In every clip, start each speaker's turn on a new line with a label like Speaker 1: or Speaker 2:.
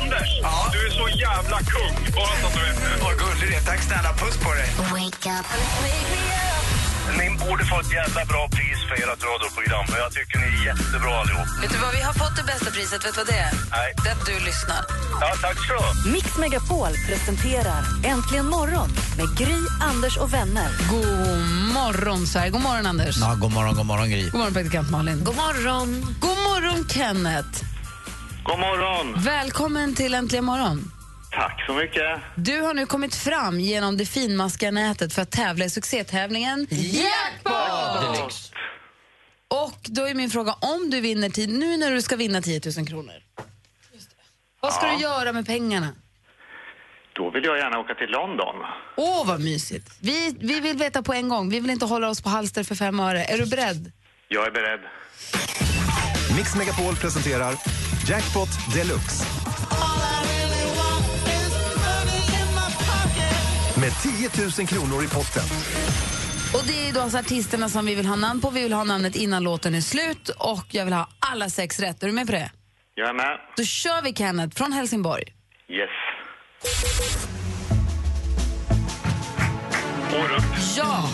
Speaker 1: Anders! Du är så jävla kung! Bara så att du vet eh, det. Vad gullig du är. Tack snälla. Puss på dig. Ni borde få ett jävla bra pris för ert radioprogram. För jag tycker ni är jättebra allihop.
Speaker 2: Vet du vad, vi har fått det bästa priset. Vet du vad det är?
Speaker 1: Nej.
Speaker 2: Det är att du lyssnar.
Speaker 1: Ja, tack ska du ha.
Speaker 3: Mix Megapol presenterar Äntligen morgon med Gry, Anders och vänner.
Speaker 4: God morgon, Sverige. God morgon, Anders.
Speaker 5: Ja, god morgon, god morgon Gry.
Speaker 4: God morgon, praktikant Malin. God morgon. God morgon, Kenneth.
Speaker 6: God morgon!
Speaker 4: Välkommen till Äntligen morgon.
Speaker 6: Tack så mycket.
Speaker 4: Du har nu kommit fram genom det finmaskiga nätet för att tävla i succétävlingen Jackpot! Och då är min fråga, om du vinner tid, nu när du ska vinna 10 000 kronor, vad ska du göra med pengarna?
Speaker 6: Då vill jag gärna åka till London.
Speaker 4: Åh, vad mysigt. Vi, vi vill veta på en gång, vi vill inte hålla oss på halster för fem öre. Är du beredd?
Speaker 6: Jag är beredd.
Speaker 7: Mix Megapol presenterar Jackpot Deluxe. Med 10 000 kronor i potten.
Speaker 4: Och det är då alltså artisterna som vi vill ha namn på. Vi vill ha namnet innan låten är slut och jag vill ha alla sex rätt. Är du med på det?
Speaker 6: Jag är med.
Speaker 4: Då kör vi Kenneth från Helsingborg.
Speaker 6: Yes. Orup.
Speaker 4: Ja!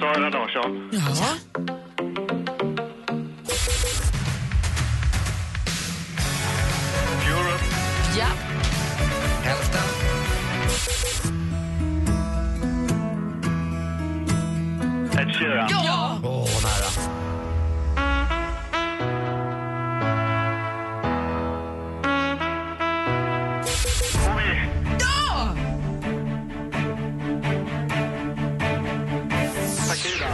Speaker 6: Sara Larsson.
Speaker 4: Ja.
Speaker 6: Europe.
Speaker 4: ja.
Speaker 5: Hälften.
Speaker 6: Ed Sheeran.
Speaker 4: Ja!
Speaker 5: Åh, nära.
Speaker 6: Oj. Shakira.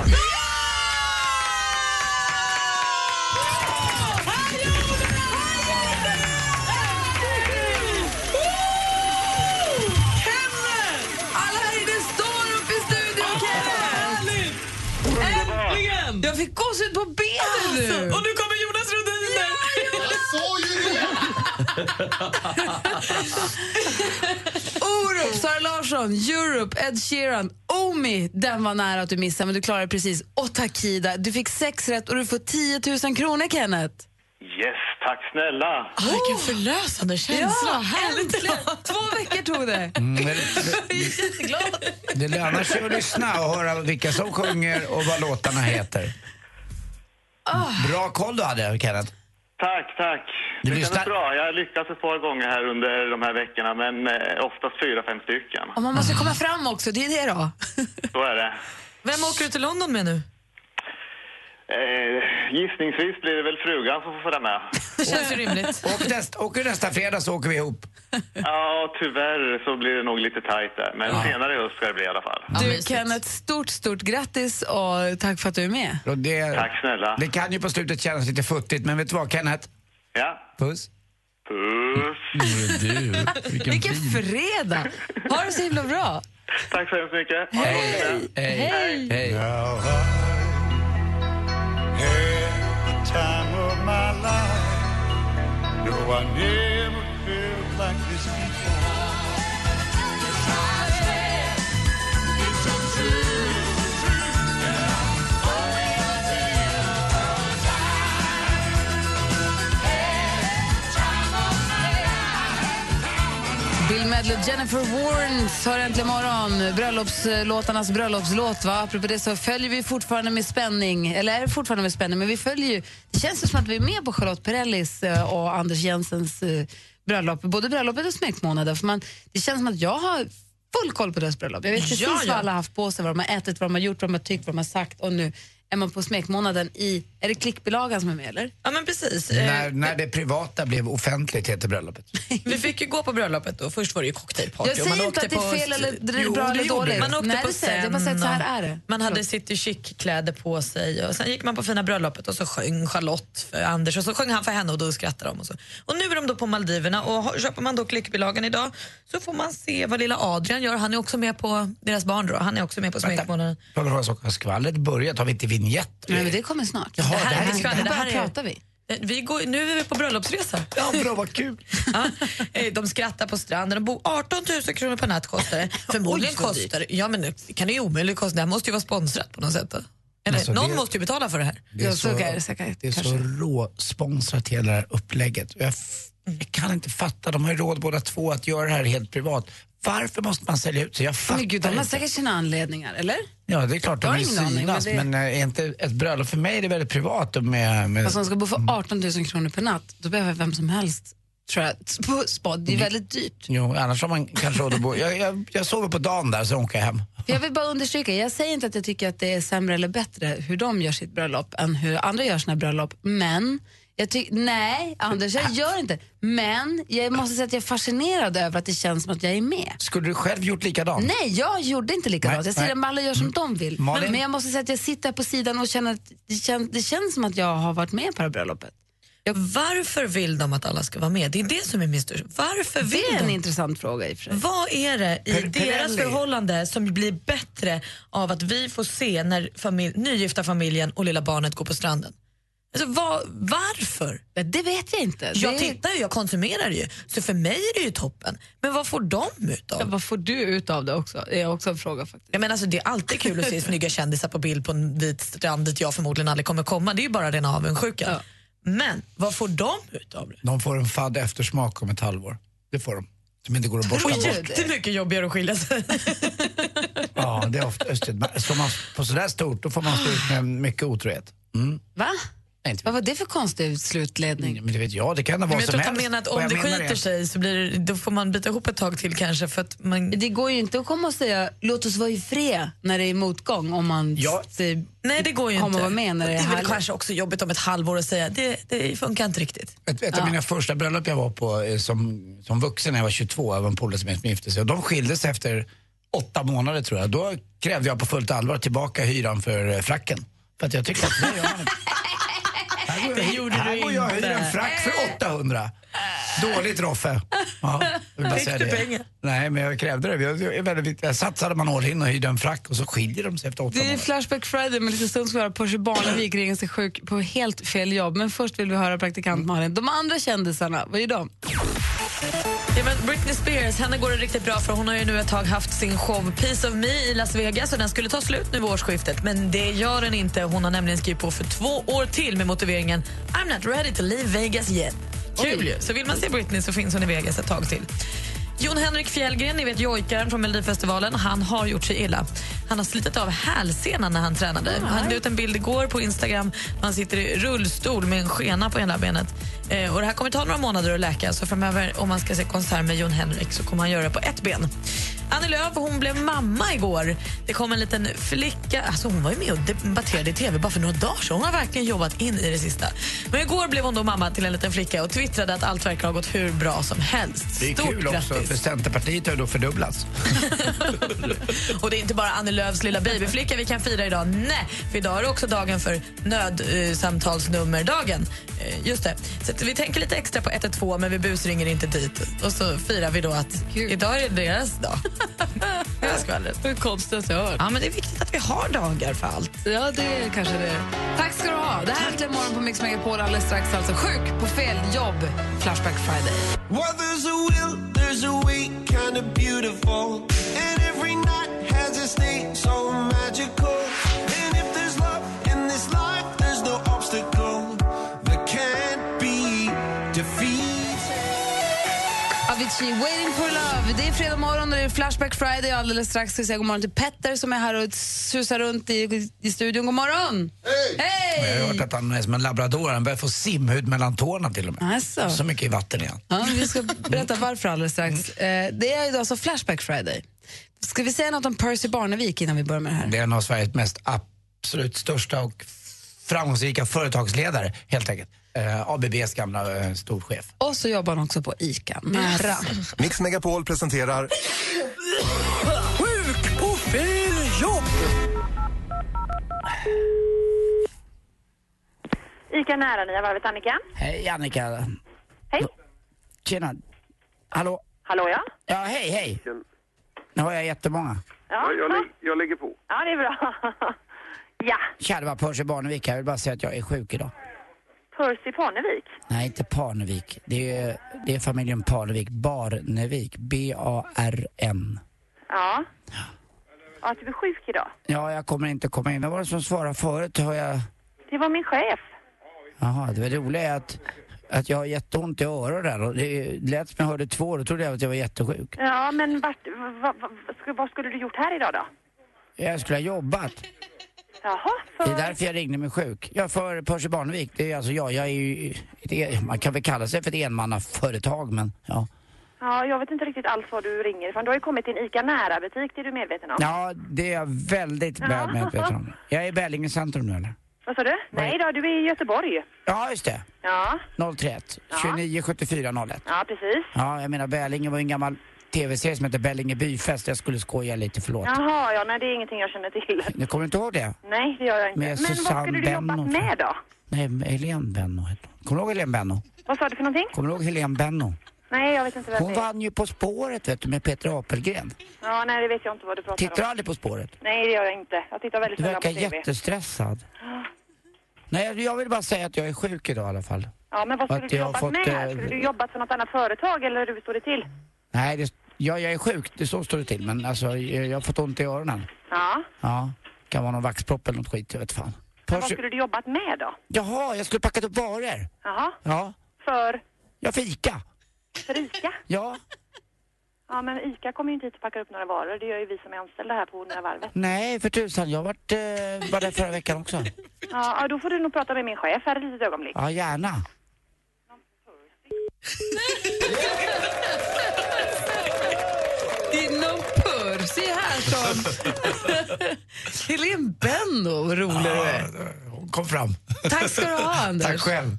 Speaker 4: Alla här inne står upp i
Speaker 8: Ah.
Speaker 4: studion, Kenneth! Äntligen! Jag fick gåshud på benen
Speaker 8: Mm.
Speaker 4: nu! Och nu kommer Jonas Rhodin där!
Speaker 8: Alltså.
Speaker 4: Orup, Sara Larsson, Europe, Ed Sheeran, Omi. Den var nära att du missade, men du klarade det precis. Och Takida, du fick sex rätt och du får 10 000 kronor, Kenneth.
Speaker 6: Yes, tack snälla.
Speaker 8: Vilken förlösande känsla. Härligt. Mm.
Speaker 4: äntligen! Två veckor tog det.
Speaker 5: Men, det lönar sig att lyssna och höra vilka som sjunger och vad låtarna heter. Bra koll du hade, Kenneth.
Speaker 6: Tack, tack.
Speaker 5: Du
Speaker 6: Det kändes
Speaker 5: lyssnar-
Speaker 6: bra. Jag har lyckats ett par gånger här under de här veckorna, men eh, oftast fyra, fem stycken.
Speaker 4: Och man måste komma fram också, det är det då.
Speaker 6: Så är det.
Speaker 8: Vem åker du till London med nu?
Speaker 6: Eh, gissningsvis blir det väl frugan som får följa med.
Speaker 8: Det känns ju rimligt.
Speaker 5: Och nästa, åker du nästa fredag så åker vi ihop.
Speaker 6: Ja, tyvärr så blir det nog lite tajt där. Men senare i höst ska det bli i alla fall.
Speaker 4: Du,
Speaker 8: mysigt.
Speaker 4: Kenneth, stort, stort grattis och tack för att du är med.
Speaker 5: Och det,
Speaker 6: Tack snälla.
Speaker 5: det kan ju på slutet kännas lite futtigt, men vet du vad, Kenneth?
Speaker 6: Ja.
Speaker 5: Puss.
Speaker 6: Puss.
Speaker 4: Vilken fredag! Ha det så himla bra.
Speaker 6: Tack så hemskt mycket.
Speaker 5: Hej.
Speaker 4: Hej!
Speaker 5: Hej.
Speaker 4: Bill Medley och Jennifer Warnes hör äntligen morgon. Bröllopslåtarnas bröllopslåt. Va? Apropå det så följer vi fortfarande med spänning, eller är fortfarande med spänning, men vi följer ju. Det känns ju som att vi är med på Charlotte Perrellis eh, och Anders Jensens eh, bröllop, både bröllopet och smekmånaden. För man, det känns som att jag har full koll på deras bröllop. Jag vet precis
Speaker 8: Ja, ja.
Speaker 4: vad alla har haft på sig, vad de har ätit, vad de har gjort, vad de har tyckt, vad de har sagt och nu är man på smekmånaden i... Är det klickbilagan som är med eller?
Speaker 8: Ja, men precis.
Speaker 5: När, när det privata blev offentligt heter bröllopet.
Speaker 8: Vi fick ju gå på bröllopet och först var det ju cocktailparty.
Speaker 4: Jag
Speaker 8: och man
Speaker 4: säger
Speaker 8: åkte
Speaker 4: inte att det är
Speaker 8: på-
Speaker 4: fel eller dr-
Speaker 8: Jo,
Speaker 4: bra
Speaker 8: det
Speaker 4: eller
Speaker 8: gjorde
Speaker 4: dåligt.
Speaker 8: det. Man åkte
Speaker 4: Nej,
Speaker 8: på
Speaker 4: det säger jag.
Speaker 8: scen
Speaker 4: Jag bara säger att så här
Speaker 8: och-
Speaker 4: är det.
Speaker 8: Man hade city chic-kläder på sig och sen gick man på fina bröllopet och så sjöng Charlotte för Anders och så sjöng han för henne och då skrattade de. Och, så. och nu är de då på Maldiverna och har- köper man då klickbilagan idag så får man se vad lilla Adrian gör. Han är också med på deras barn då. Han är också med på smekmånaden.
Speaker 5: Frågan var så har skvallret börjat? Har vi inte vinjett?
Speaker 4: Nej, men det kommer snart.
Speaker 5: Jaha,
Speaker 4: det här,
Speaker 5: det här-
Speaker 4: är, det här,
Speaker 8: det här är-
Speaker 4: pratar vi.
Speaker 8: Eh, Vi går, nu är vi på bröllopsresa.
Speaker 5: Ja, bra, vad kul.
Speaker 8: Ja, eh, de skrattar på stranden. De bor 18 000 kronor per natt kostar det. Förmodligen
Speaker 4: Oj, vad dyrt.
Speaker 8: kostar ja, men det kan det ju omöjligt kosta. Det här måste ju vara sponsrat på något sätt. Då. Eller,
Speaker 5: Alltså,
Speaker 8: någon
Speaker 5: det-
Speaker 8: måste ju betala för det här.
Speaker 5: Det
Speaker 4: Ja,
Speaker 5: är
Speaker 4: så
Speaker 5: så,
Speaker 4: kan det säkert-
Speaker 5: det är så
Speaker 4: kanske.
Speaker 5: råsponsrat hela det här upplägget. Jag, f-
Speaker 8: Mm.
Speaker 5: jag kan inte fatta, de har ju råd båda två att göra det här helt privat. Varför måste man sälja ut sig? Jag fattar
Speaker 4: Men gud, de har
Speaker 5: inte.
Speaker 4: säkert sina anledningar, eller?
Speaker 5: Ja, det är klart,
Speaker 4: Jag
Speaker 5: de
Speaker 4: har
Speaker 5: vill
Speaker 4: ingen aning,
Speaker 5: synas.
Speaker 4: men det-
Speaker 5: Men, eh, är inte ett bröllop, för mig är det väldigt privat. och Med, med...
Speaker 4: Fast de Alltså, ska bo
Speaker 8: Mm.
Speaker 4: för 18 000 kronor per natt, då behöver vem som helst tror jag, på spa. Det
Speaker 8: Mm.
Speaker 4: är ju väldigt dyrt.
Speaker 5: Jo, annars har man kanske råd att bo. Jag, jag, jag sover på dagen där, sen åker jag hem.
Speaker 4: Jag vill bara understryka, jag säger inte att jag tycker att det är sämre eller bättre hur de gör sitt bröllop än hur andra gör sina bröllop, men jag tycker, nej Anders,
Speaker 8: Ah.
Speaker 4: jag gör inte. Men jag måste säga att jag är fascinerad över att det känns som att jag är med.
Speaker 5: Skulle du själv gjort likadant?
Speaker 4: Nej, jag gjorde inte likadant.
Speaker 5: Nej,
Speaker 4: jag säger
Speaker 5: nej.
Speaker 4: att alla gör som de vill.
Speaker 5: Malin?
Speaker 4: Men jag måste säga att jag sitter här på sidan och känner att det, kän, det känns som att jag har varit med på det här bröllopet.
Speaker 8: Varför vill de att alla ska vara med? Det är det som är min största... Varför vill
Speaker 4: Det är en
Speaker 8: de?
Speaker 4: intressant fråga i och för sig.
Speaker 8: Vad är det i
Speaker 5: Per-
Speaker 8: deras
Speaker 5: Pirelli.
Speaker 8: förhållande som blir bättre Eh, av att vi får se när famil- nygifta familjen och lilla barnet går på stranden? Alltså, vad, varför?
Speaker 4: Ja, Det vet jag inte.
Speaker 8: Jag
Speaker 4: det...
Speaker 8: tittar ju, jag konsumerar ju. Så för mig är det ju toppen. Men vad får de ut av det?
Speaker 4: Vad får du ut av det också? Det är också en fråga faktiskt.
Speaker 8: Jag menar, alltså, det är alltid kul att se snygga kändisar på bild på en vit strand dit jag förmodligen aldrig kommer komma. Det är ju bara rena avundsjukan.
Speaker 4: Ja.
Speaker 8: Men vad får de ut av det?
Speaker 5: De får en fadd eftersmak om ett halvår. Det får de. Som inte går att borsta
Speaker 8: Och
Speaker 4: du
Speaker 5: bort.
Speaker 8: jättemycket jobbigare att skilja sig.
Speaker 5: Ja, det är ofta just det. Man- Står man på sådär stort, då får man stå ut med mycket otrohet. Mm.
Speaker 4: Va?
Speaker 5: Nej, inte
Speaker 4: Vad var det för konstig slutledning?
Speaker 5: Men det vet jag, det kan vara
Speaker 8: Men
Speaker 5: vad
Speaker 8: jag
Speaker 5: som
Speaker 8: tror att
Speaker 5: helst.
Speaker 8: han menar att
Speaker 5: Och
Speaker 8: om
Speaker 5: jag
Speaker 8: det
Speaker 5: menar
Speaker 8: skiter sig så blir det, då får man bita ihop ett tag till kanske för att man...
Speaker 4: Det går ju inte att komma och säga låt oss vara i fred när det är motgång om man
Speaker 5: Ja.
Speaker 4: säger
Speaker 8: Nej, det går ju
Speaker 4: Kommer
Speaker 8: inte.
Speaker 4: vara med när det
Speaker 8: Och
Speaker 4: är
Speaker 8: det är väl
Speaker 4: härligt.
Speaker 8: kanske också jobbigt om ett halvår att säga det, det funkar inte riktigt.
Speaker 5: Ett, ett av mina första bröllop jag var på eh, som, som vuxen när jag var 22, jag var en polare som gifte sig. Och de skildes efter åtta månader tror jag. Då krävde jag på fullt allvar tillbaka hyran för eh, fracken. För att jag tyckte att det gör man inte. Här går, jag-
Speaker 8: gjorde
Speaker 5: här
Speaker 8: du
Speaker 5: går jag och hyr en
Speaker 8: inte.
Speaker 5: frack för 800. Dåligt Roffe. Ja, jag vill bara
Speaker 8: Fick
Speaker 5: säga
Speaker 8: du
Speaker 5: det.
Speaker 8: pengar?
Speaker 5: Nej, men jag krävde det. Jag, jag, är väldigt, viktig. jag satsade man all in och hyrde en frack och så skiljer de sig efter åtta
Speaker 4: Det är
Speaker 5: månader.
Speaker 4: Flashback Friday, men lite stund ska vi höra Percy Barnevik ringa sig sjuk på helt fel jobb. Men först vill vi höra praktikant Malin. De andra kändisarna, vad är de?
Speaker 8: Ja, men Britney Spears, henne går det riktigt bra för hon har ju nu ett tag haft sin show Piece of Me i Las Vegas och den skulle ta slut nu vid årsskiftet. Men det gör den inte. Hon har nämligen skrivit på för två år till med motiveringen I'm not ready to leave Vegas yet. Kul ju! Så vill man se Britney så finns hon i Vegas ett tag till. Jon Henrik Fjällgren, ni vet jojkaren från Melodifestivalen, han har gjort sig illa. Han har slitit av hälsenan när han tränade. Han la ut en bild igår på Instagram när han sitter i rullstol med en skena på ena benet. Eh, och det här kommer ta några månader att läka, så framöver om man ska se konsert med Jon Henrik så kommer han göra det på ett ben. Annie Lööf hon blev mamma igår. Det kom en liten flicka. Alltså hon var ju med och debatterade i tv bara för några dagar sedan. Hon har verkligen jobbat in i det sista. Men igår blev hon då mamma till en liten flicka och twittrade att allt verkar ha gått hur bra som helst.
Speaker 5: Det är
Speaker 8: Stort
Speaker 5: kul också,
Speaker 8: grattis.
Speaker 5: för Centerpartiet har ju då fördubblats.
Speaker 8: Och det är inte bara Annie Lööfs lilla babyflicka vi kan fira idag. Nej, för idag är det också dagen för nödsamtalsnummerdagen. Eh, Just det. Så att vi tänker lite extra på 112, men vi busringer inte dit. Och så firar vi då att
Speaker 4: Gud.
Speaker 8: idag är det deras dag. Det var skvallret.
Speaker 4: Hur konstigt jag hör.
Speaker 8: Ja, men det är viktigt att vi har dagar för allt.
Speaker 4: Ja, det är kanske det är. Tack ska du ha. Det här är Äntligen morgon på Mix Megapol. Alldeles strax alltså sjuk på fel jobb. Flashback Friday.
Speaker 9: Well, there's a will, there's a way, kind of beautiful. And every night has its day, so magical. And if there's love in this life, there's no obstacle that can't be defeated.
Speaker 4: Avicii, Waiting for Love. Det är fredag morgon och det är Flashback Friday. Alldeles strax ska vi säga god morgon till Petter som är här och susar runt i, i studion. God morgon! Hej!
Speaker 5: Jag har hört att han är som en labrador, han börjar få simhud mellan tårna till och med.
Speaker 4: Alltså.
Speaker 5: Så mycket i vatten igen.
Speaker 4: Ja, vi ska berätta varför alldeles strax.
Speaker 5: Mm.
Speaker 4: Eh, det är idag så Flashback Friday. Ska vi säga något om Percy Barnevik innan vi börjar med det här?
Speaker 5: Det är en av Sveriges mest ap- absolut största och framgångsrika företagsledare helt enkelt. Eh, ABBs gamla eh, storchef.
Speaker 4: Och så jobbar han också på ICA. Nära.
Speaker 7: Mix Megapol presenterar
Speaker 10: Sjuk på fel jobb!
Speaker 11: ICA Nära Nya Varvet, Annika.
Speaker 5: Hej Annika.
Speaker 11: Hej.
Speaker 5: Tjena. Hallå?
Speaker 11: Hallå ja.
Speaker 5: Ja, hej hej. Nu har jag jättemånga.
Speaker 11: Ja, ja.
Speaker 5: Jag lägger på.
Speaker 11: ja det är bra. ja,
Speaker 5: Tjalva Percy Barnevik här. Jag vill bara säga att jag är sjuk idag.
Speaker 11: Percy Parnevik.
Speaker 5: Nej, inte Parnevik. Det är, det är familjen Parnevik. Barnevik. B-A-R-N.
Speaker 11: Ja. ja. Att du är sjuk idag.
Speaker 5: Ja, jag kommer inte komma in. Vad var det som svarade förut? Har jag...
Speaker 11: Det var min chef.
Speaker 5: Jaha, det var roliga är att, att jag har jätteont i öronen. Och det lät som jag hörde två då trodde jag att jag var jättesjuk.
Speaker 11: Ja, men vart, va, va, sku- vad skulle du gjort här idag då?
Speaker 5: Jag skulle ha jobbat.
Speaker 11: Jaha,
Speaker 5: Det är därför jag ringde mig sjuk. Jag för Percy Barnevik. Det är alltså jag. Jag är ju... Ett, e- man kan väl kalla sig för ett enmannaföretag, men ja.
Speaker 11: ja, jag vet inte riktigt alls vad du ringer ifrån. Du har ju kommit till en ICA Nära-butik, det är du medveten om.
Speaker 5: Ja, det är jag väldigt väl medveten om. Jag är i Bällinge centrum nu, eller?
Speaker 11: Vad sa du? Nej då, du är i Göteborg.
Speaker 5: Ja, just det.
Speaker 11: Ja,
Speaker 5: 031 29 74 01.
Speaker 11: ja precis.
Speaker 5: Ja, jag menar Bällinge var ju en gammal tv-serie som hette Bällinge byfest. Jag skulle skoja lite, förlåt.
Speaker 11: Jaha, ja, nej det är ingenting jag känner till.
Speaker 5: Nu kommer du inte ihåg det?
Speaker 11: Nej, det gör jag inte.
Speaker 5: Med
Speaker 11: men vad
Speaker 5: Susanne
Speaker 11: skulle du jobbat
Speaker 5: Benno,
Speaker 11: med då?
Speaker 5: Nej, Helene Benno hette hon. Kommer du ihåg Helene Benno?
Speaker 11: Vad sa du för någonting?
Speaker 5: Kommer du ihåg Helene Benno?
Speaker 11: Nej, jag vet inte vem
Speaker 5: Hon
Speaker 11: det är.
Speaker 5: vann ju På spåret, vet du, med Peter Apelgren.
Speaker 11: Ja, nej det vet jag inte vad du pratar
Speaker 5: Tittar du
Speaker 11: om.
Speaker 5: aldrig På spåret?
Speaker 11: Nej, det gör jag inte. Jag tittar väldigt
Speaker 5: Du
Speaker 11: sällan
Speaker 5: verkar
Speaker 11: på TV.
Speaker 5: jättestressad. Nej, jag- jag vill bara säga att jag är sjuk idag i alla fall.
Speaker 11: Ja, men vad
Speaker 5: Att
Speaker 11: skulle du
Speaker 5: jag har
Speaker 11: jobbat
Speaker 5: fått,
Speaker 11: med här?
Speaker 5: eh,
Speaker 11: Skulle du jobbat för något annat företag eller hur står det till?
Speaker 5: Nej, det, ja, jag är sjuk, det så står det till. Men alltså, jag, jag har fått ont i öronen.
Speaker 11: Ja.
Speaker 5: Ja, kan vara någon vaxpropp eller något skit, jag vet fan.
Speaker 11: Men vad
Speaker 5: Percy-
Speaker 11: skulle du jobbat med då?
Speaker 5: Jaha, jag skulle packat upp varor.
Speaker 11: Jaha.
Speaker 5: Ja.
Speaker 11: För?
Speaker 5: Ja, fika.
Speaker 11: För ICA?
Speaker 5: Ja.
Speaker 11: Ja, men ICA kommer ju inte hit och packar upp några varor. Det gör ju vi som är anställda här på Nya Varvet.
Speaker 5: Nej, för tusan. Jag varit, eh, var där förra veckan också.
Speaker 11: Ja, ja, då får du nog prata med min chef här ett litet ögonblick.
Speaker 5: Ja, gärna.
Speaker 4: Det är någon purr. Se här som... Helene Benno, vad rolig du är.
Speaker 5: Hon kom fram.
Speaker 4: Tack ska du ha, Anders.
Speaker 5: Tack själv.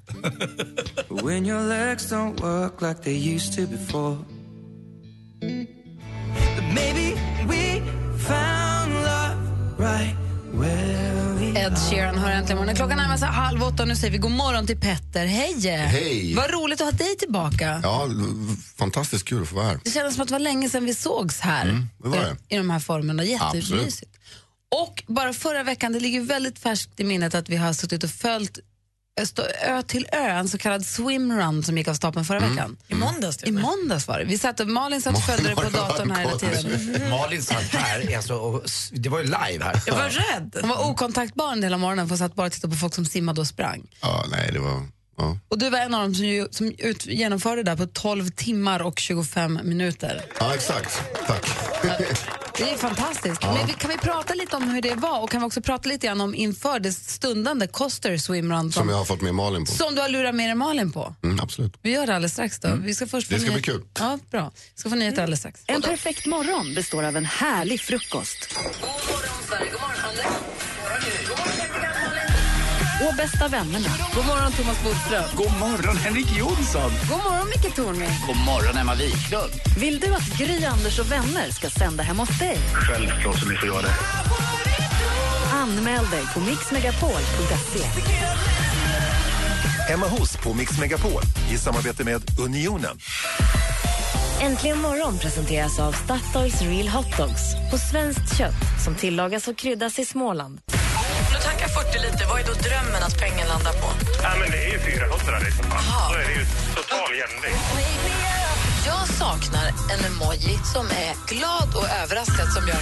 Speaker 12: When your legs don't work like they used to before. But maybe we found love right where we
Speaker 4: Ed Sheeran har äntligen morgonen. Klockan närmar sig halv åtta och nu säger vi god morgon till Petter. Hej!
Speaker 13: Hej.
Speaker 4: Vad roligt att ha dig tillbaka.
Speaker 13: Ja, v- fantastiskt kul att få vara här.
Speaker 4: Det kändes som att det var länge sedan vi sågs här.
Speaker 13: Mm, det var det.
Speaker 4: I de här formerna. Jättemysigt.
Speaker 13: Absolut.
Speaker 4: Och bara förra veckan, det ligger väldigt färskt i minnet att vi har suttit och följt Öst- ö till ö, en så kallad swimrun som gick av stapeln förra
Speaker 13: Mm.
Speaker 4: veckan. I måndags I måndags var det. Vi satt, och- Malin satt och följde det på datorn här hela tiden.
Speaker 5: Malin satt här, alltså, och, s- det var ju live här.
Speaker 4: Jag var rädd. Hon var okontaktbar en del av morgonen för hon satt bara och tittade på folk som simmade och sprang.
Speaker 13: Ja, nej, det var...
Speaker 4: Och du var en av dem som, ju, som ut, genomförde det där på 12 timmar och 25 minuter.
Speaker 13: Ja, exakt. Tack.
Speaker 4: Det är fantastiskt.
Speaker 13: Ja.
Speaker 4: Men vi, kan vi prata lite om hur det var och kan vi också prata lite grann om inför det stundande Coster Swimrun
Speaker 13: Som jag har fått med Malin på.
Speaker 4: som du har lurat med dig Malin på?
Speaker 13: Mm, absolut. Mm.
Speaker 4: Vi gör det alldeles strax då. Vi ska först få
Speaker 13: Det ska
Speaker 4: nyhet-
Speaker 13: bli kul.
Speaker 4: Ja, bra. Vi ska få nyheter alldeles strax.
Speaker 3: En perfekt morgon består av en härlig frukost. Och bästa vännerna.
Speaker 4: God morgon Thomas Bodström.
Speaker 14: God morgon Henrik Jonsson.
Speaker 3: God morgon Micke Tornving.
Speaker 14: God morgon Emma Wiklund.
Speaker 3: Vill du att Gry, Anders och vänner ska sända hem hos dig?
Speaker 1: Självklart som ni får göra det.
Speaker 3: Anmäl dig på mixmegapol.se.
Speaker 7: Emma Hos på Mix Megapol i samarbete med Unionen.
Speaker 3: Äntligen morgon presenteras av Statoils Real Hot Dogs på svenskt kött som tillagas och kryddas i Småland.
Speaker 2: Om du tankar 40 liter, vad är då drömmen att pengen landar på?
Speaker 1: Ja, men det är ju 400 liksom.
Speaker 2: Jaha.
Speaker 1: Då är det ju total jämning.
Speaker 4: Jag saknar en emoji som är glad och överraskad som gör...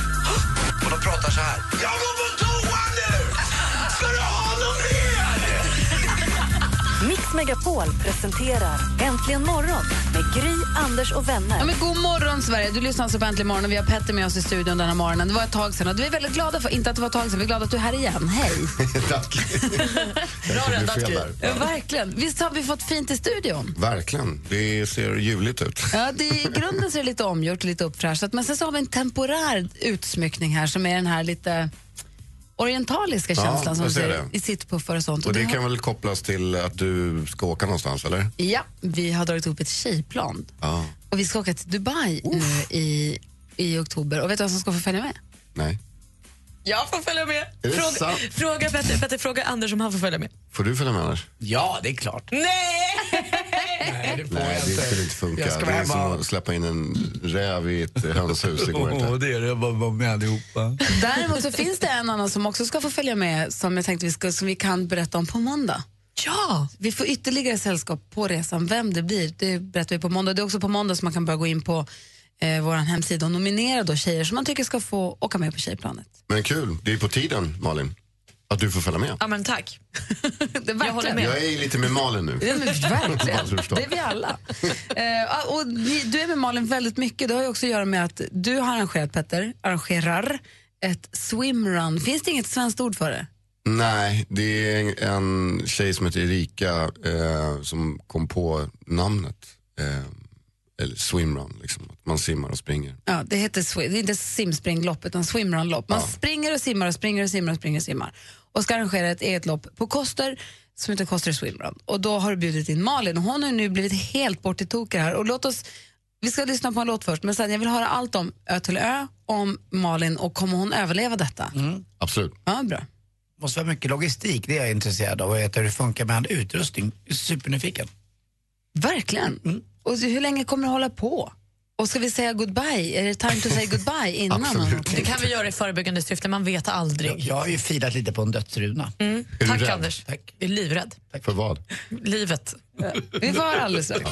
Speaker 1: Och de pratar så här. Jag går på toa nu! Ska du ha någon mer?
Speaker 3: Mix Megapol presenterar Äntligen morgon med Gry, Anders och vänner.
Speaker 4: Ja, men god morgon, Sverige. Du lyssnar alltså på Äntligen morgon och vi har Petter med oss i studion den här morgonen. Det var ett tag sedan och vi är väldigt glada för, inte att det var ett tag sedan, vi är glada att du är här igen. Hej!
Speaker 13: Tack. Bra
Speaker 4: räddat, Gry. Ja, verkligen. Visst har vi fått fint i studion?
Speaker 13: Verkligen. Det ser ljuvligt ut.
Speaker 4: Ja, det, I grunden så är det lite omgjort, lite uppfräschat. Men sen så har vi en temporär utsmyckning här som är den här lite... orientaliska
Speaker 13: Ja,
Speaker 4: känslan som
Speaker 13: jag
Speaker 4: man
Speaker 13: ser
Speaker 4: säger,
Speaker 13: det.
Speaker 4: i sittpuffar och sånt.
Speaker 13: Och det
Speaker 4: har-
Speaker 13: kan väl kopplas till att du ska åka någonstans, eller?
Speaker 4: Ja, vi har dragit upp ett tjejplan
Speaker 13: Ja.
Speaker 4: och vi ska åka till Dubai nu i, i oktober. Och vet du vem som ska få följa med?
Speaker 13: Nej.
Speaker 8: Jag får följa med.
Speaker 13: Är det
Speaker 8: Fråga,
Speaker 13: sant?
Speaker 8: fråga Petter, Petter, fråga Anders om han får följa med.
Speaker 13: Får du följa med annars?
Speaker 5: Ja, det är klart.
Speaker 8: Mm. Nej!
Speaker 13: Nej, det skulle inte funka.
Speaker 5: Jag ska
Speaker 13: det
Speaker 5: vara
Speaker 13: är
Speaker 5: hemma
Speaker 13: som
Speaker 5: och-
Speaker 13: att släppa in en räv i ett eh, hönshus. Det går inte.
Speaker 5: Åh, det är det. Jag bara var med allihopa.
Speaker 4: Däremot så finns det en annan som också ska få följa med som jag tänkte vi, ska, som vi kan berätta om på måndag.
Speaker 8: Ja!
Speaker 4: Vi får ytterligare sällskap på resan. Vem det blir, det berättar vi på måndag. Det är också på måndag som man kan börja gå in på eh, vår hemsida och nominera då tjejer som man tycker ska få åka med på tjejplanet.
Speaker 13: Men kul. Det är på tiden, Malin, att du får följa med.
Speaker 8: Ja, men tack.
Speaker 4: jag håller
Speaker 13: Jag är lite med Malin nu.
Speaker 4: Ja, men
Speaker 13: Bara så
Speaker 4: verkligen.
Speaker 13: du förstår.
Speaker 4: Det är vi alla. Eh, och ni, du är med Malin väldigt mycket. Det har ju också att göra med att du har arrangerat, Petter, arrangerar ett swimrun. Finns det inget svenskt ord för det?
Speaker 13: Nej, det är en tjej som heter Erika eh, som kom på namnet. Eh, eller swimrun, liksom. Att man simmar och springer.
Speaker 4: Ja, det, heter, swi- det är inte simspringlopp utan swimrunlopp. Man springer och simmar och springer och simmar och springer och simmar. Och ska arrangera ett eget lopp på Koster som heter Koster Swimrun. Och då har du bjudit in Malin och hon har nu blivit helt bort i toker här. Och låt oss, vi ska lyssna på en låt först men sen jag vill höra allt om Ö till Ö, om Malin och kommer hon överleva detta?
Speaker 13: Absolut.
Speaker 4: Ja, bra.
Speaker 5: Måste vara mycket logistik, det är jag intresserad av. Och veta hur det funkar med all utrustning. Supernyfiken.
Speaker 4: Verkligen. Och hur länge kommer det hålla på? Och ska vi säga goodbye? Är det time to say goodbye innan? man
Speaker 5: Absolut
Speaker 4: åker?
Speaker 8: Det kan vi göra i förebyggande syfte, man vet aldrig.
Speaker 5: Jag har ju filat lite på en dödsruna.
Speaker 8: Mm.
Speaker 5: Är du
Speaker 8: Tack
Speaker 5: rädd?
Speaker 8: Anders. Jag är livrädd.
Speaker 13: För vad?
Speaker 8: Livet.
Speaker 4: Vi får höra alldeles strax.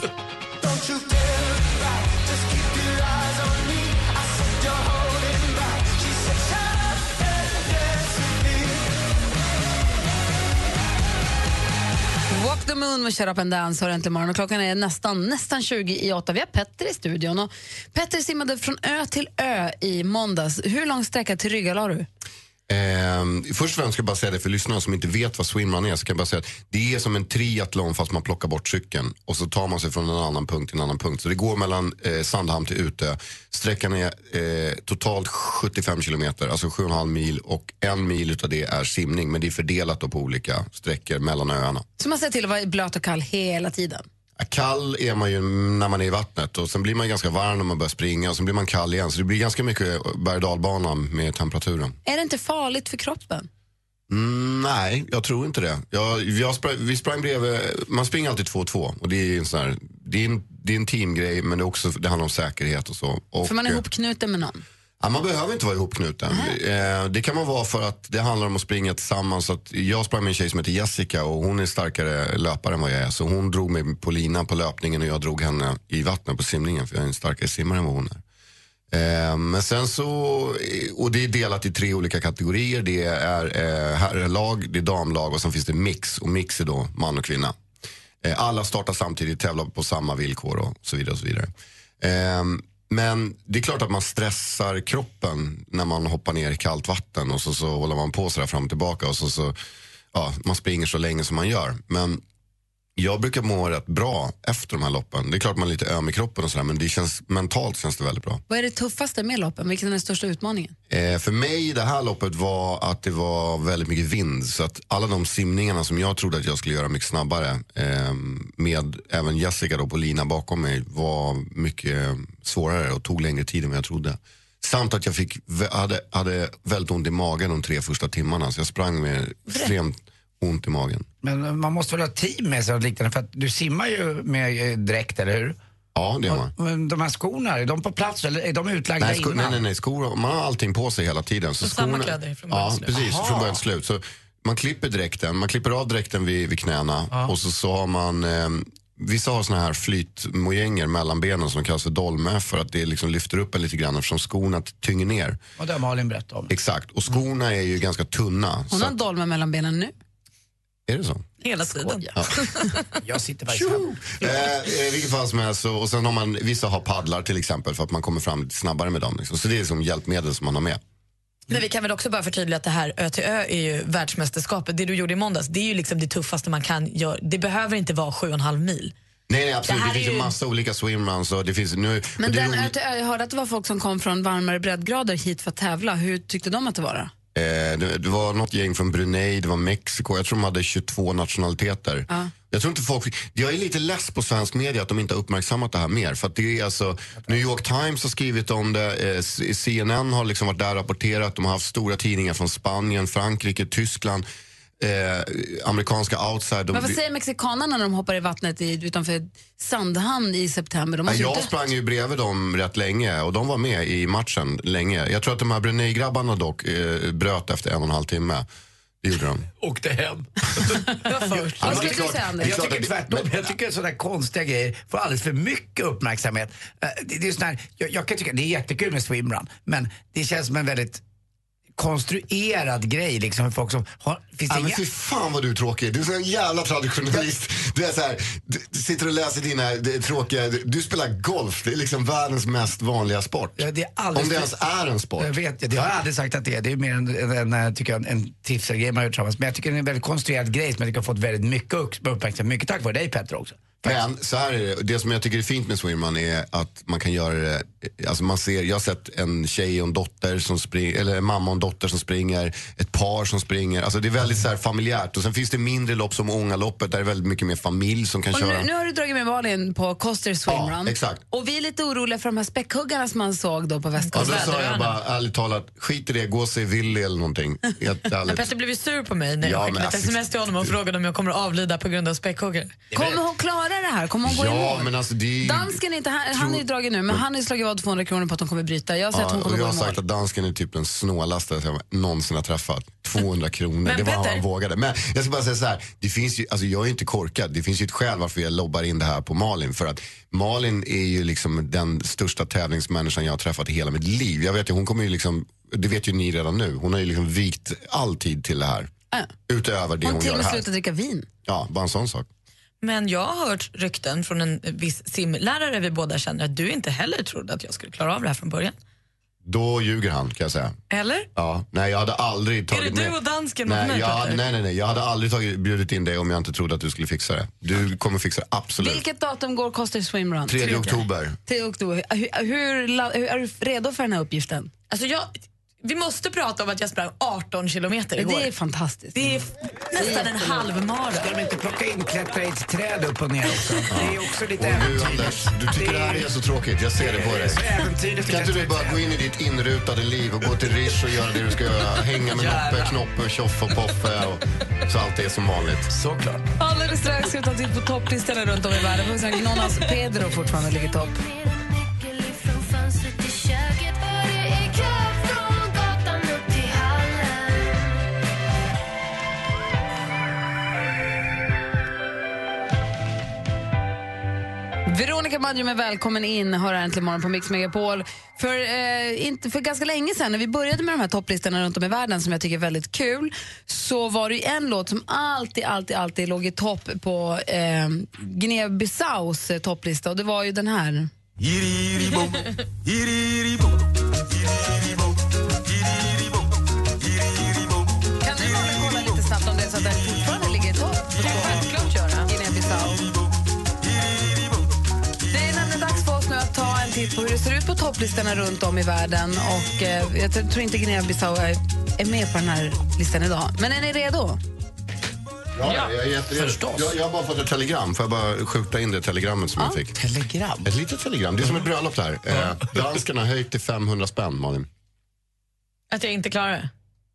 Speaker 4: Walk the moon med Shut up and dance har äntligen morgon och klockan är nästan, nästan 20 i åtta. Vi har Petter i studion och Petter simmade från ö till ö i måndags. Hur lång sträcka till Rygga la du?
Speaker 13: Ehm, först och främst ska jag bara säga det för lyssnarna som inte vet vad swimrun är. Så kan jag bara säga att det är som en triathlon fast man plockar bort cykeln och så tar man sig från en annan punkt till en annan punkt. Så det går mellan eh, Sandhamn till Utö. Sträckan är eh, totalt 75 kilometer, alltså 7,5 mil och en mil utav det är simning. Men det är fördelat då på olika sträckor mellan öarna.
Speaker 4: Så man ser till att vara blöt och kall hela tiden.
Speaker 13: Kall är man ju när man är i vattnet och sen blir man ganska varm när man börjar springa och sen blir man kall igen. Så det blir ganska mycket berg och dalbana med temperaturen.
Speaker 4: Är det inte farligt för kroppen?
Speaker 13: Mm, nej, jag tror inte det. Jag, jag sprang, vi sprang bredvid, man springer alltid två och två. Och det är en sån här, det är en, det är en teamgrej men det, är också, det handlar om säkerhet och så. Och,
Speaker 4: för man är
Speaker 13: eh,
Speaker 4: ihopknuten med någon.
Speaker 13: Ja, man behöver inte vara ihopknuten. Eh, det kan man vara för att det handlar om att springa tillsammans. Så att jag sprang med en tjej som heter Jessica och hon är starkare löpare än vad jag är. Så hon drog mig på linan på löpningen och jag drog henne i vattnet på simningen för jag är en starkare simmare än vad hon är. Eh, Men sen så, eh, och det är delat i tre olika kategorier. Det är eh, herrlag, det är damlag och sen finns det mix. Och mix är då man och kvinna. Eh, Alla startar samtidigt, tävlar på samma villkor och så vidare. Och så vidare. Ehm, Men det är klart att man stressar kroppen när man hoppar ner i kallt vatten och så, så håller man på sådär fram och tillbaka och så, så ja, man springer så länge som man gör. Men jag brukar må rätt bra efter de här loppen. Det är klart man är lite öm i kroppen och sådär men det känns, mentalt känns det väldigt bra.
Speaker 4: Vad är det tuffaste med loppen? Vilken är den största utmaningen?
Speaker 13: Eh, för mig i det här loppet var att det var väldigt mycket vind. Så att alla de simningarna som jag trodde att jag skulle göra mycket snabbare eh, med även Jessica då på lina bakom mig var mycket svårare och tog längre tid än vad jag trodde. Samt att jag fick, vä- hade, hade väldigt ont i magen de tre första timmarna så jag sprang med extremt ont i magen.
Speaker 5: Men eh, man måste väl ha team med sig och liknande? För att du simmar ju med eh, dräkt, eller hur?
Speaker 13: Ja, det gör man.
Speaker 5: Men de här skorna, är de på plats eller är de utlagda
Speaker 13: Nej, sko-
Speaker 5: innan?
Speaker 13: nej, nej, nej, skor, man har allting på sig hela tiden. Så
Speaker 5: Så samma kläder från början
Speaker 13: Ja,
Speaker 5: till slut?
Speaker 13: precis,
Speaker 5: Aha.
Speaker 13: från början till slut. Så man klipper dräkten, man klipper av dräkten vid, vid knäna och så, så har man, eh, vissa har såna här flytmojänger mellan benen som kallas för dolme för att det liksom lyfter upp en lite grann eftersom skorna t- tynger ner.
Speaker 5: Och det har Malin berättat om.
Speaker 13: Exakt, och skorna är ju ganska tunna.
Speaker 4: Hon
Speaker 13: Så
Speaker 4: har en
Speaker 13: att,
Speaker 4: dolme mellan benen nu.
Speaker 13: är det så?
Speaker 8: Hela tiden.
Speaker 13: Ja.
Speaker 5: Jag sitter faktiskt här.
Speaker 13: Eh, I vilket fall som helst, så, och sen har man, vissa har paddlar till exempel för att man kommer fram lite snabbare med dem. Liksom. Så det är liksom hjälpmedel som man har med.
Speaker 8: Men vi kan väl också bara förtydliga att det här Ö till Ö är ju världsmästerskapet. Det du gjorde i måndags, det är ju liksom det tuffaste man kan göra. Det behöver inte vara sju och en halv mil.
Speaker 13: Nej, nej absolut.
Speaker 8: Det
Speaker 13: Det,
Speaker 8: här
Speaker 13: finns
Speaker 8: är
Speaker 13: ju
Speaker 8: ju-
Speaker 13: massa olika swimruns. Och det finns, nu,
Speaker 4: Men
Speaker 13: och det är
Speaker 4: den
Speaker 13: roligt-
Speaker 4: ö till ö, jag hörde att det var folk som kom från varmare breddgrader hit för att tävla. Hur tyckte de att det var? då?
Speaker 13: Eh, det, det var något gäng från Brunei, det var Mexiko. Jag tror de hade 22 nationaliteter.
Speaker 4: Ja.
Speaker 13: Jag tror inte folk... Jag är lite less på svensk media att de inte har uppmärksammat det här mer. För att det är alltså, New York Times har skrivit om det, eh, C- CNN har liksom varit där och rapporterat. De har haft stora tidningar från Spanien, Frankrike, Tyskland, eh, amerikanska outside. De-
Speaker 4: Men vad säger mexikanerna när de hoppar i vattnet i, utanför Sandhamn i september? De måste ju
Speaker 13: jag
Speaker 4: dö.
Speaker 13: sprang ju bredvid dem rätt länge och de var med i matchen länge. Jag tror att de här Brunei-grabbarna dock eh, bröt efter en och en halv timme. Det gjorde de.
Speaker 5: Åkte hem.
Speaker 4: Ja, vad skulle du säga, Anders?
Speaker 5: Jag tycker tvärtom. Jag tycker sådana där konstiga grejer får alldeles för mycket uppmärksamhet. Eh, Det, det är sån här, jag, jag kan tycka det är jättekul med swimrun, men det känns som en väldigt konstruerad grej liksom för folk som har... Finns
Speaker 13: Ja,
Speaker 5: det
Speaker 13: men
Speaker 5: inga...
Speaker 13: fy fan vad du är tråkig. Du är en sån jävla traditionalist. Du, är så här, du du sitter och läser dina det är tråkiga... Du, du spelar golf. Det är liksom världens mest vanliga sport. Om det ens är en sport.
Speaker 5: Jag vet, jag, jag har aldrig sagt att det är. Det är mer en, en, en, tycker jag, en, en tipsgrej man gör tillsammans. Men jag tycker det är en väldigt konstruerad grej som jag tycker har fått väldigt mycket upp- uppmärksamhet. Mycket tack vare dig Petter också.
Speaker 13: Men så här är det, det som jag tycker är fint med swimrun är att man kan göra det, alltså man ser, jag har sett en tjej och en dotter som springer, eller en mamma och en dotter som springer, ett par som springer, alltså det är väldigt så här familjärt och sen finns det mindre lopp som Ångaloppet där det är väldigt mycket mer familj som kan
Speaker 4: Och
Speaker 13: köra.
Speaker 4: nu, nu har du dragit med Malin på Koster swimrun.
Speaker 13: exakt.
Speaker 4: Och vi är lite oroliga för de här späckhuggarna som man såg då på
Speaker 13: Ja, då
Speaker 4: västkusten.
Speaker 13: sa jag bara ärligt talat, skit i det, gå och se Willy eller någonting. Helt
Speaker 8: Men
Speaker 13: ärligt.
Speaker 8: Petter blev ju sur på mig när jag
Speaker 13: Ja, men
Speaker 8: skickade ett
Speaker 13: alltså-
Speaker 8: sms till honom och frågade om jag kommer att avlida på grund av späckhuggare.
Speaker 4: Kommer hon klara det här? Kommer hon gå i
Speaker 13: Ja
Speaker 4: mål?
Speaker 13: men alltså det är
Speaker 4: Dansken är inte här, han är ju dragen nu, men han har ju slagit vad 200 kronor på att hon kommer bryta. Jag har sett att
Speaker 13: Ja,
Speaker 4: hon
Speaker 13: och
Speaker 4: kommer
Speaker 13: jag
Speaker 4: gå
Speaker 13: har
Speaker 4: i mål.
Speaker 13: sagt att dansken är typ den snålaste jag någonsin har träffat. 200 kronor,
Speaker 4: Men
Speaker 13: det var vad
Speaker 4: Petter-
Speaker 13: han vågade. Men jag ska bara säga så här, det finns ju, alltså jag är ju inte korkad. Det finns ju ett skäl varför jag lobbar in det här på Malin. För att Malin är ju liksom den största tävlingsmänniskan jag har träffat i hela mitt liv. Jag vet ju, hon kommer ju liksom, det vet ju ni redan nu, hon har ju liksom vikt all tid till det här. Utöver det hon,
Speaker 4: Hon till
Speaker 13: gör
Speaker 4: och med
Speaker 13: här.
Speaker 4: slutat dricka vin.
Speaker 13: Ja, bara en sån sak.
Speaker 8: Men jag har hört rykten från en viss simlärare vi båda känner att du inte heller trodde att jag skulle klara av det här från början.
Speaker 13: Då ljuger han kan jag säga.
Speaker 8: Eller?
Speaker 13: Ja, nej jag hade aldrig tagit
Speaker 8: det du
Speaker 13: med-
Speaker 8: och dansken mot
Speaker 13: nej,
Speaker 8: mig,
Speaker 13: jag,
Speaker 8: Petter?
Speaker 13: nej, nej, nej. Jag hade aldrig tagit, bjudit in dig om jag inte trodde att du skulle fixa det. Du kommer fixa det, absolut.
Speaker 4: Vilket datum går Koster swimrun?
Speaker 13: 3 oktober.
Speaker 4: 3 oktober. Hur, hur, la- hur, är du redo för den här uppgiften?
Speaker 8: Alltså jag, vi måste prata om att jag sprang 18 kilometer igår.
Speaker 4: Det är fantastiskt.
Speaker 8: Det är f- nästan en halvmara.
Speaker 5: Ska de inte plocka in klättra i ett träd upp och ner också? Det är också lite
Speaker 13: Och du
Speaker 5: äventyrligt.
Speaker 13: Anders, du tycker det här är så tråkigt. Jag ser det på dig. Kan inte du bara gå in i ditt inrutade liv och gå till Rish och göra det du ska göra? Hänga med Noppe, Knoppe, Tjoff och Poppe och så allt är som vanligt.
Speaker 5: Såklart.
Speaker 4: Alldeles strax ska vi ta en titt på topplistorna runt om i världen. Får vi se om Jonas Pedro fortfarande ligger i topp. Veronica Maggio med Välkommen in hör här äntligen morgon på Mix Megapol. För, eh, inte, för ganska länge sedan när vi började med de här topplistorna runt om i världen som jag tycker är väldigt kul så var det ju en låt som alltid, alltid, alltid låg i topp på eh, Guinea-Bissaus eh, topplista och det var ju den här. Kan du bara kolla lite snabbt om det är så att den fortfarande ligger i topp? Det kan självklart göra. Guinea-Bissau. Det är nämligen dags för oss nu att ta en titt på hur det ser ut på topplistorna runt om i världen. Och eh, jag tror inte Guinea-Bissau är, är med på den här listan idag. Men är ni redo?
Speaker 13: Ja, jag, är jätteredo. jag, jag har bara fått ett telegram. Får jag bara skjuta in det telegrammet som jag fick?
Speaker 5: Telegram?
Speaker 13: Ett litet telegram. Det är som ett bröllop det här. Eh, danskarna har höjt till 500 spänn, Malin.
Speaker 8: Att jag inte klarar det.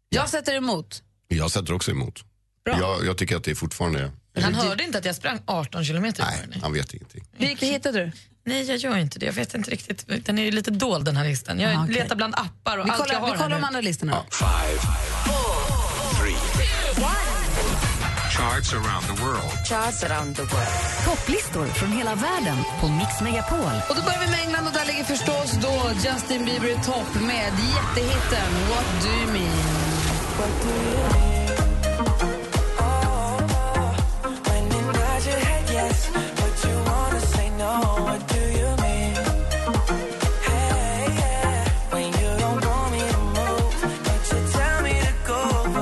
Speaker 4: Jag sätter emot.
Speaker 13: Jag sätter också emot. Jag, jag tycker att det fortfarande
Speaker 8: Han hörde inte att jag sprang 18 kilometer.
Speaker 13: Nej, han vet ingenting.
Speaker 4: Vilka
Speaker 8: Mm.
Speaker 4: hittade du?
Speaker 8: Nej, jag gör inte det. Jag vet inte riktigt. Den är ju lite dold den här listan. Jag
Speaker 4: Ah, okej.
Speaker 8: letar bland appar och
Speaker 4: Vi
Speaker 8: allt jag
Speaker 4: kollar,
Speaker 8: har
Speaker 4: vi
Speaker 8: här
Speaker 4: kollar
Speaker 8: nu.
Speaker 4: de andra listorna. då.
Speaker 1: Five, three. Charts around the world.
Speaker 15: Topplistor från hela världen på Mix Megapol.
Speaker 4: Och då börjar vi med England och där ligger förstås då Justin Bieber i topp med jättehitten What Do You Mean.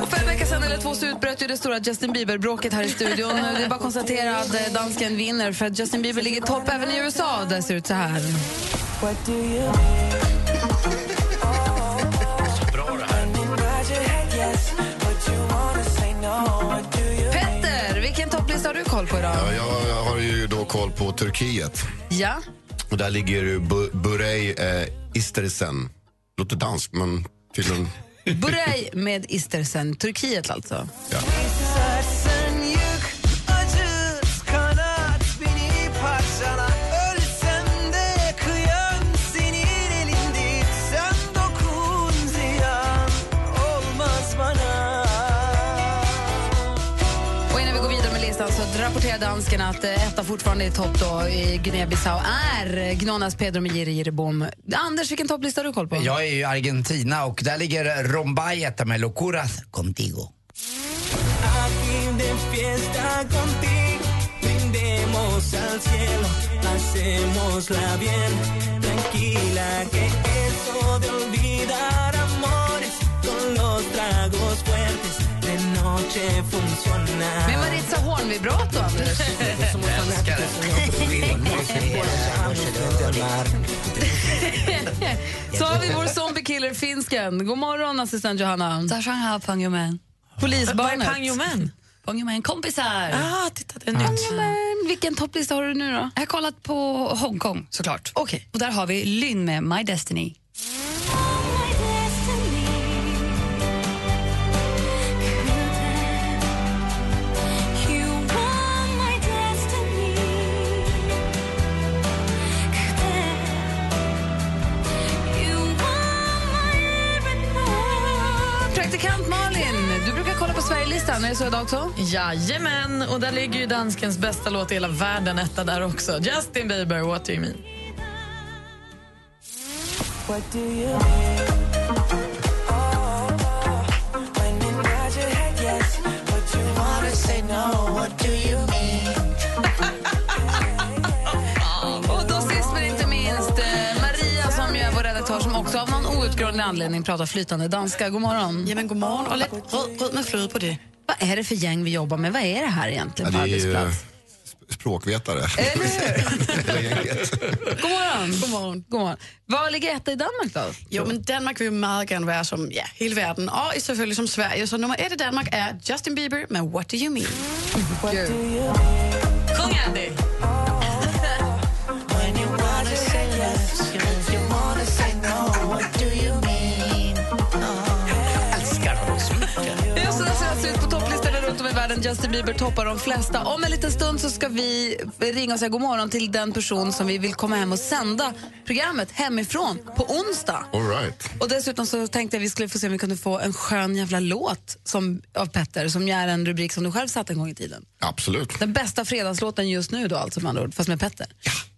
Speaker 4: Och För en vecka sedan eller två så utbröt ju det stora Justin Bieber-bråket här i studion. Det är bara att konstatera att eh, dansken vinner för att Justin Bieber ligger i topp även i USA. Där ser det ut så här.
Speaker 1: Bra det här.
Speaker 4: koll på idag?
Speaker 13: Ja, jag har ju då koll på Turkiet.
Speaker 4: Ja.
Speaker 13: Och där ligger ju Bu- Burey eh, Istersen. Låter dansk, men tydligen...
Speaker 4: Buray med Istersen, Turkiet alltså.
Speaker 13: Ja.
Speaker 9: Sersen yık acı kanat beni parçala ölsem de kıyan senin elinde sen dokun ziyan olmaz bana.
Speaker 4: Och innan vi går vidare med listan så rapporterar dansken att eh, etta fortfarande är topp då i Guinea-Bissau är Gnonas Pedro med Jiri Jiri Bom. Anders, vilken topplista har du koll på?
Speaker 5: Jag är ju i Argentina och där ligger Rombay etta med Locuras Contigo.
Speaker 9: Aquí de fiesta contigo, brindemos al cielo, pasémosla bien, tranquila que eso de olvidar amores con los tragos fuertes de noche funciona.
Speaker 4: Med Maritza Hornby-Bråto, Anders.
Speaker 9: Älskar
Speaker 4: så har vi vår zombiekiller, finsken. God morgon, assistent Johanna. Tashang ha pangyomen. Polisbarnet.
Speaker 8: Vad är pangyomen?
Speaker 4: Pangyomen, kompisar. Ah, titta, det är nytt. Vilken topplista har du nu då?
Speaker 16: Jag har kollat på Hongkong såklart.
Speaker 4: Okay.
Speaker 16: Och där har vi Lynn med My Destiny.
Speaker 4: Praktikant Malin, du brukar kolla på Sverigelistan. Är det så idag också?
Speaker 8: Jajamän, och där ligger ju danskens bästa låt i hela världen etta där också. Justin Bieber, What Do You Mean.
Speaker 9: What do you mean? When inside your head, yes, but you wanna say no. What do you mean?
Speaker 4: Och då sist men inte minst eh, Maria som ju är vår redaktör som också av någon outgrundlig anledning pratar flytande danska. God morgon. Ja, men god morgon och lätt röd, med flöde på det. Vad är det för gäng vi jobbar med? Vad är det här
Speaker 13: Ja,
Speaker 4: egentligen
Speaker 13: det
Speaker 4: på
Speaker 13: är ju eh,
Speaker 4: arbetsplats?
Speaker 13: sp- språkvetare. Hela gänget.
Speaker 4: God morgon. God morgon. God morgon. Vad ligger etta i Danmark då?
Speaker 17: Jo, men Danmark vil jo meget gerne være som ja, hele verden, og i- selvfølgelig som Sverige. Så nummer et i Danmark er Justin Bieber med What Do You Mean?
Speaker 8: Sjung Andy!
Speaker 9: When you wanna say yes, but you wanna say no. What do you mean?
Speaker 4: Älskar dem så mycket. Just det, så ser det ut på topplistorna runt om i världen. Justin Bieber toppar de flesta. Om en liten stund så ska vi ringa och säga god morgon till den person som vi vill komma hem och sända programmet hemifrån på onsdag.
Speaker 13: All right.
Speaker 4: Och dessutom så tänkte jag vi skulle få se om vi kunde få en skön jävla låt som, av Petter som ju är en rubrik som du själv satte en gång i tiden.
Speaker 13: Absolut.
Speaker 4: Den bästa fredagslåten just nu då alltså med andra ord, fast med Petter.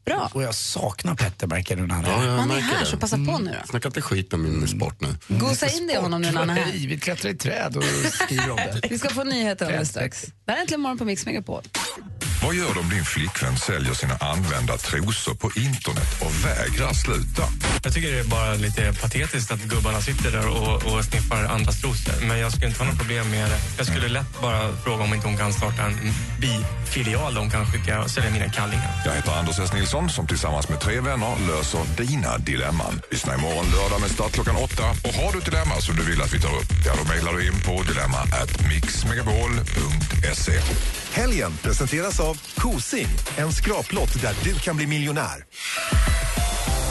Speaker 4: Bra.
Speaker 5: Och jag saknar Petter märker du när han är
Speaker 13: Ja, jag
Speaker 4: Han är
Speaker 13: märker
Speaker 4: här,
Speaker 13: det. Mm.
Speaker 4: så passa på nu då.
Speaker 13: Snacka inte skit om min sport nu.
Speaker 4: Gosa in det i honom nu när han är här.
Speaker 5: Hej, vi klättrar i träd och skriver om det.
Speaker 4: Vi ska få nyheter alldeles strax. Det här är Äntligen morgon på Mix Megapol.
Speaker 18: Vad gör du om din flickvän säljer sina använda trosor på internet och vägrar sluta?
Speaker 19: Jag tycker det är bara lite patetiskt att gubbarna sitter där och, och sniffar andras trosor. Men jag skulle inte ha något problem med det. Jag skulle lätt bara fråga om inte hon kan starta en bifilial där hon kan skicka och sälja mina kallingar.
Speaker 18: Jag heter Anders S. Nilsson som tillsammans med tre vänner löser dina dilemman. Lyssna imorgon lördag med start klockan åtta. Och har du ett dilemma som du vill att vi tar upp, ja då mejlar du in på dilemma at mixmegapol.se.
Speaker 7: E. Helgen presenteras av Kosing, en skraplott där du kan bli miljonär.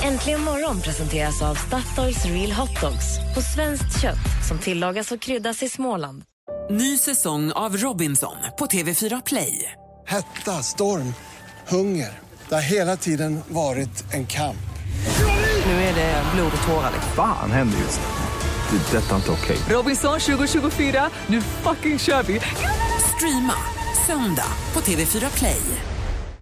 Speaker 3: Äntligen morgon presenteras av Statoils Real Hot Dogs på svenskt kött som tillagas och kryddas i Småland.
Speaker 10: Ny säsong av Robinson på TV4 Play.
Speaker 20: Hetta, storm, hunger. Det har hela tiden varit en kamp.
Speaker 10: Nu är det blod och tårar. liksom.
Speaker 21: Fan händer just nu. Det. är Detta är inte okej.
Speaker 10: Robinson 2024, nu fucking kör vi! Streama söndag på TV4 Play.